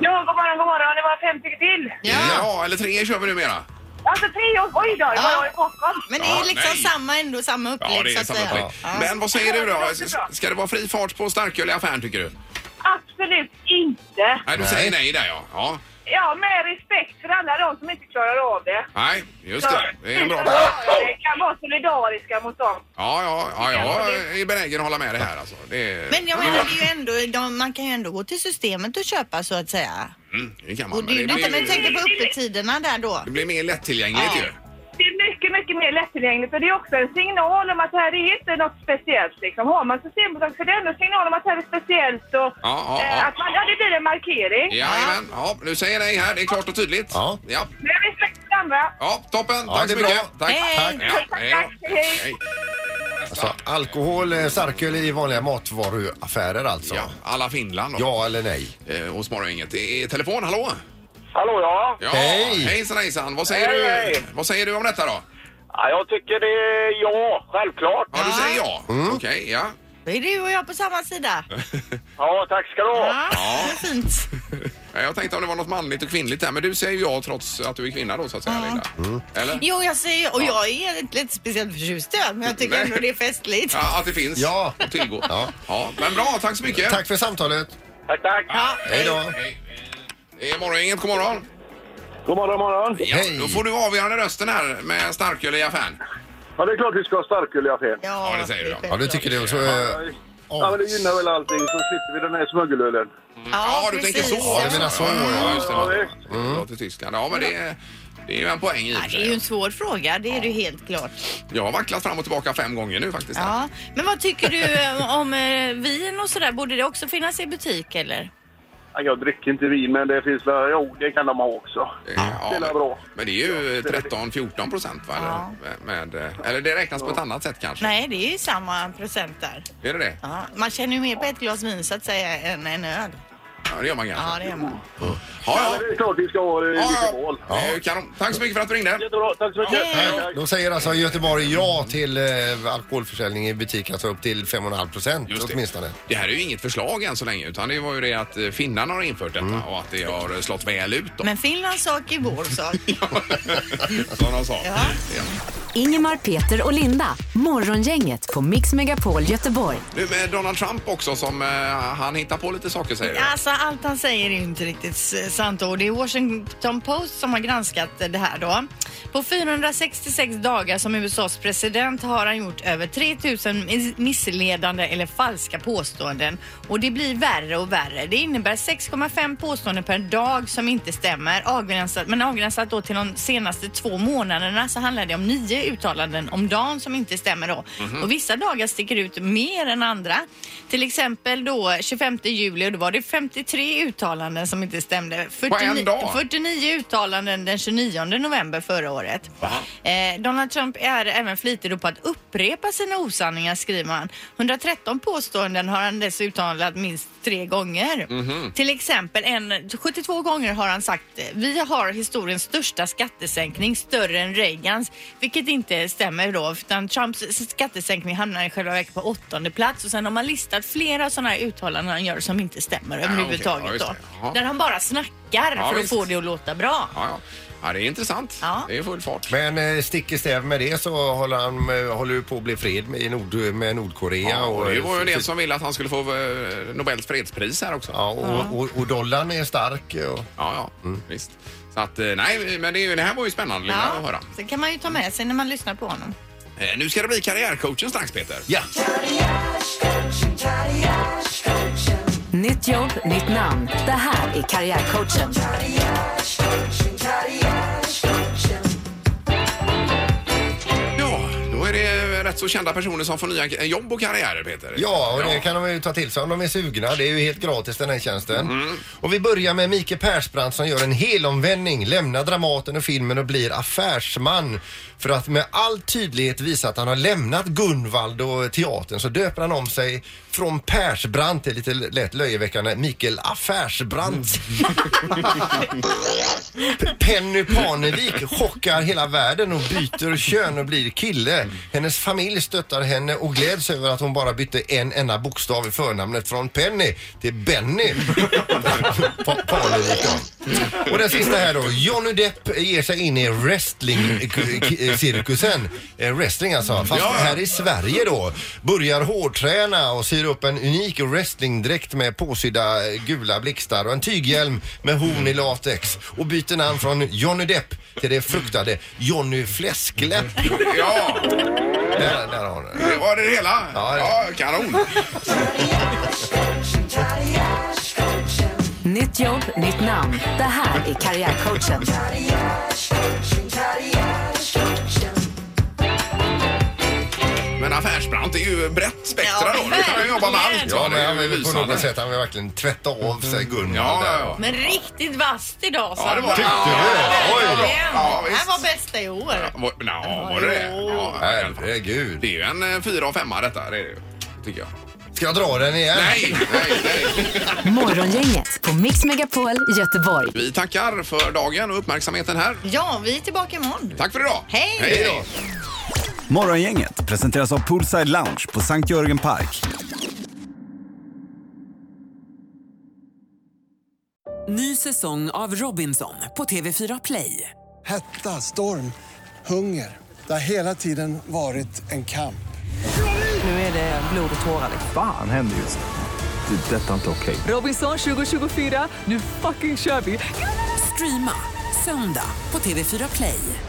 Speaker 6: Ja, god morgon, god morgon. Det var fem stycken till.
Speaker 2: Ja.
Speaker 1: ja eller tre kör vi numera.
Speaker 6: Alltså tre år. Oj då, det var
Speaker 2: Ja.
Speaker 6: jag i Stockholm.
Speaker 2: Men det är
Speaker 1: Ja,
Speaker 2: liksom
Speaker 1: nej.
Speaker 2: samma ändå, samma upplägg
Speaker 1: Ja, det är
Speaker 2: så att
Speaker 1: samma
Speaker 2: säga.
Speaker 1: upplägg.
Speaker 2: Ja.
Speaker 1: Men vad säger du då?
Speaker 6: Ja, det låter bra.
Speaker 1: Ska det vara fri fart på starköl i affären tycker du?
Speaker 6: Absolut inte.
Speaker 1: Nej, du
Speaker 3: Nej.
Speaker 1: säger nej där ja. ja.
Speaker 6: Ja, med respekt för alla de som inte klarar av det.
Speaker 1: Nej, just det. Det är en bra... Ja,
Speaker 6: Vi kan vara solidariska mot dem.
Speaker 1: ja, ja, jag är benägen att hålla med dig här alltså. Det, är-
Speaker 2: Men jag menar, det är ju ändå, de, man kan ju ändå gå till systemet och köpa så att säga.
Speaker 1: Mm, det kan man.
Speaker 2: Och det, är ju
Speaker 1: blir
Speaker 2: detta, men
Speaker 1: ju-
Speaker 2: tänk på öppettiderna där då.
Speaker 1: det blir mer lättillgängligt
Speaker 2: Ja.
Speaker 1: ju.
Speaker 6: Det är mycket, mycket mer lättillgängligt och det är också en signal om att det här är inte något speciellt. Liksom. Har man Systembolaget så är det ändå en signal om att det här är speciellt och
Speaker 1: Ja, ja,
Speaker 6: eh,
Speaker 1: ja.
Speaker 6: att man, ja, det blir en markering.
Speaker 1: Jajamän. Ja, du säger nej här. Det är klart och tydligt.
Speaker 3: Ja.
Speaker 1: Ja,
Speaker 6: Men respekt för andra.
Speaker 1: ja toppen.
Speaker 3: Ja,
Speaker 1: Tack
Speaker 3: det
Speaker 1: så
Speaker 3: är
Speaker 1: mycket.
Speaker 3: bra.
Speaker 1: Tack.
Speaker 2: Hej.
Speaker 1: Tack. Ja, hej då.
Speaker 6: Hej.
Speaker 1: Hej.
Speaker 3: alltså, alkohol, eh, starköl i vanliga matvaruaffärer alltså.
Speaker 1: Ja,
Speaker 3: Ja,
Speaker 1: alla Finland då.
Speaker 3: eller nej?
Speaker 1: Eh, och smara inget. Det är telefon, hallå?
Speaker 9: Hallå ja.
Speaker 1: Ja,
Speaker 3: Hej.
Speaker 1: Hejsan hejsan. Vad säger,
Speaker 9: Hej,
Speaker 1: du?
Speaker 9: hej.
Speaker 1: Vad säger du om detta då?
Speaker 9: ja! Jag tycker det är ja, självklart.
Speaker 1: Ja, du säger ja. Okej, ja.
Speaker 2: Då är du och jag på samma sida.
Speaker 9: Ja, tack ska du ha.
Speaker 2: Ja, det är fint.
Speaker 1: Ja, Jag tänkte om det var något manligt och kvinnligt där, men du säger ja trots att du är kvinna då så att säga, Linda.
Speaker 3: Mm.
Speaker 1: Eller?
Speaker 2: Jo, jag säger och jag är inte lite speciellt förtjust i öl, men jag tycker
Speaker 1: Nej.
Speaker 2: ändå det är festligt.
Speaker 1: Ja, att det finns
Speaker 3: Ja.
Speaker 1: att tillgå.
Speaker 3: Ja.
Speaker 1: Ja, men bra, tack så mycket.
Speaker 3: Tack för samtalet.
Speaker 9: Tack, tack.
Speaker 3: Hej då.
Speaker 1: Hej. Det är morgongänget, god morgon.
Speaker 9: God morgon, morgon.
Speaker 1: Ja,
Speaker 3: Hej.
Speaker 1: Då får du avgörande rösten här med starköl i affären.
Speaker 9: Ja, det är klart vi ska ha starköl i affären.
Speaker 1: Ja, det säger du, ja.
Speaker 3: Ja, du tycker det. Och så, eh,
Speaker 9: Ja, men det gynnar väl allting så slipper vi den här smuggelölen.
Speaker 1: Ja, du tänker så.
Speaker 3: Ja, du menar så, ja.
Speaker 1: ja just det.
Speaker 9: Ja,
Speaker 1: Ja, till Tyskland. Ja, men det är, det är ju en poäng i och
Speaker 2: Ja,
Speaker 1: för
Speaker 2: det är ju
Speaker 1: sig.
Speaker 2: en svår fråga, det är det helt klart.
Speaker 1: Jag har vacklat fram och tillbaka fem gånger nu faktiskt.
Speaker 2: Ja. Men vad tycker du eh, om eh, vin och sådär? Borde det också finnas i butik eller?
Speaker 9: Ja, Jag dricker inte vin, men det finns väl... Jo, det kan de ha också.
Speaker 1: Eh,
Speaker 9: det är
Speaker 1: men,
Speaker 9: bra.
Speaker 1: men det är ju 13-14 procent va? Eller,
Speaker 2: Ja.
Speaker 1: med, med- eller det räknas på ett annat sätt kanske?
Speaker 2: Nej, det är ju samma procent där.
Speaker 1: Är det det?
Speaker 2: Ja, man känner ju mer på ett glas vin så att säga än en öl.
Speaker 1: Ja, det gör man kanske.
Speaker 2: Ja, det är man.
Speaker 9: Ja,
Speaker 1: Ja,
Speaker 9: men
Speaker 1: ja.
Speaker 9: det är klart vi ska ha det i
Speaker 1: Ja,
Speaker 9: Göteborg.
Speaker 1: ja. Eh, kanon. Tack så mycket för att du ringde.
Speaker 9: Jättebra, tack så mycket.
Speaker 2: Hej.
Speaker 9: Tack.
Speaker 3: Då säger alltså Göteborg ja till eh, alkoholförsäljning i butik, alltså upp till 5,5 procent
Speaker 1: Just det.
Speaker 3: åtminstone.
Speaker 1: Det här är ju inget förslag än så länge utan det var ju det att eh, finnarna har infört detta och att det har slått väl ut. Då.
Speaker 2: Men Finlands sak är vår sak.
Speaker 1: Som de sa.
Speaker 2: Ja.
Speaker 1: Ja.
Speaker 4: Ingemar, Peter och Linda. Morgongänget på Mix Megapol Göteborg.
Speaker 1: Nu med Donald Trump också som eh, han hittar på lite saker säger du.
Speaker 2: Alltså allt han säger är ju inte riktigt s- sant och det är Washington Post som har granskat det här då. På 466 dagar som USAs president har han gjort över 3000 mis- missledande eller falska påståenden och det blir värre och värre. Det innebär 6,5 påståenden per dag som inte stämmer avgränsat, men avgränsat då till de senaste två månaderna så handlar det om nio uttalanden om dagen som inte stämmer då. Och vissa dagar sticker ut mer än andra. Till exempel då 25 juli och då var det 53 uttalanden som inte stämde. 49,
Speaker 1: dag?
Speaker 2: 49 uttalanden den 29 november förra året. Eh, Donald Trump är även flitig då på att upprepa sina osanningar skriver han. 113 påståenden har han dessutom uttalat minst tre gånger.
Speaker 1: Mhm.
Speaker 2: Till exempel en, 72 gånger har han sagt eh, vi har historiens största skattesänkning större än Reagans vilket inte stämmer då utan Trumps skattesänkning hamnar i själva verket på åttonde plats och sen har man listat flera sådana här uttalanden han gör som inte stämmer
Speaker 1: Ah, okej. Ja,
Speaker 2: överhuvudtaget
Speaker 1: just
Speaker 2: då.
Speaker 1: det. Ja.
Speaker 2: Där han bara snackar för att
Speaker 1: visst.
Speaker 2: få det att låta bra.
Speaker 1: Ja, ja. ja, det är intressant.
Speaker 2: Ja.
Speaker 1: Det är full fart.
Speaker 3: Men eh, stick i stäv med det så håller han eh, håller ju på att bli fred med, i Nord, med Nordkorea.
Speaker 1: Ja, och det var ju
Speaker 3: eh,
Speaker 1: en del som ville att han skulle få eh, Nobels fredspris här också.
Speaker 3: Ja, och, och, och dollarn är stark. Och,
Speaker 1: Ja, ja, visst. Så att, eh, nej, men det, är ju- det här var ju spännande Linda, att höra.
Speaker 2: så kan man ju ta med sig när man lyssnar på honom.
Speaker 1: Eh, nu ska det bli karriärcoachen strax, Peter.
Speaker 3: ja.
Speaker 4: Nytt jobb, nytt namn. Det här är Karriärcoachen.
Speaker 1: Ja, då är det rätt så kända personer som får nya k- jobb och karriärer, Peter.
Speaker 3: ja, och det kan de ju ta till sig om de är sugna. Det är ju helt gratis den här tjänsten.
Speaker 1: Mm.
Speaker 3: Och vi börjar med Mike Persbrandt som gör en helomvändning, lämnar Dramaten och filmen och blir affärsman. För att med all tydlighet visa att han har lämnat Gunvald och teatern så döper han om sig från Persbrandt till lite lätt löjeväckande Mikael Affärsbrandt. Penny Parnevik chockar hela världen och byter kön och blir kille. Hennes familj stöttar henne och gläds över att hon bara bytte en enda bokstav i förnamnet från Penny till Benny. Pa- Parnevik då. Och den sista här då. Johnny Depp ger sig in i wrestlingcirkusen. Eh, Wrestling alltså. Fast
Speaker 1: Ja.
Speaker 3: här i Sverige då. Börjar hårdträna och syr upp en unik wrestlingdräkt med påsydda eh, gula blixtar och en tyghjälm med horn i latex. Och byter namn från Johnny Depp till det fruktade Johnny Fläskläpp.
Speaker 1: Ja,
Speaker 3: Där, där har ni det.
Speaker 1: det var det hela.
Speaker 3: Ja, det-
Speaker 1: Ja, kanon.
Speaker 4: Nytt jobb, nytt namn. Det här är Karriärcoachen.
Speaker 1: Men affärsbransch är ju brett spektra
Speaker 2: Ja,
Speaker 1: då. Du kan ju jobba med allt.
Speaker 3: Ja, men han
Speaker 1: det är ju
Speaker 3: vill på
Speaker 1: lysande. Mm.
Speaker 3: något sätt han vill verkligen tvätta av sig Gunvald.
Speaker 1: Ja,
Speaker 3: där.
Speaker 1: ja, ja.
Speaker 2: Men riktigt vasst idag
Speaker 1: Ja, det var det.
Speaker 2: Ja,
Speaker 1: Tyckte du?
Speaker 3: Oj då.
Speaker 2: verkligen.
Speaker 1: Ja,
Speaker 2: det
Speaker 1: visst.
Speaker 2: här var bästa i år.
Speaker 1: Var, na, var det det? Ja, i alla fall.
Speaker 3: Herregud.
Speaker 1: Det är ju en eh, fyra och femma detta, det är det ju. Tycker jag.
Speaker 3: Ska jag dra den igen?
Speaker 1: Nej, nej, nej.
Speaker 4: Morgongänget på Mix Megapol Göteborg.
Speaker 1: Vi tackar för dagen och uppmärksamheten här.
Speaker 2: Ja, vi är tillbaka imorgon.
Speaker 1: Tack för idag.
Speaker 2: Hej.
Speaker 1: Hej då.
Speaker 8: Morgongänget presenteras av Poolside Lounge på Sankt Jörgen Park.
Speaker 4: Ny säsong av Robinson på TV4 Play.
Speaker 10: Hetta, storm, hunger. Det har hela tiden varit en kamp.
Speaker 4: Nu är det blod och tårar. liksom.
Speaker 11: Fan händer just nu. Det. är Detta är inte okej.
Speaker 4: Robinson 2024, nu fucking kör vi! Streama söndag på TV4 Play.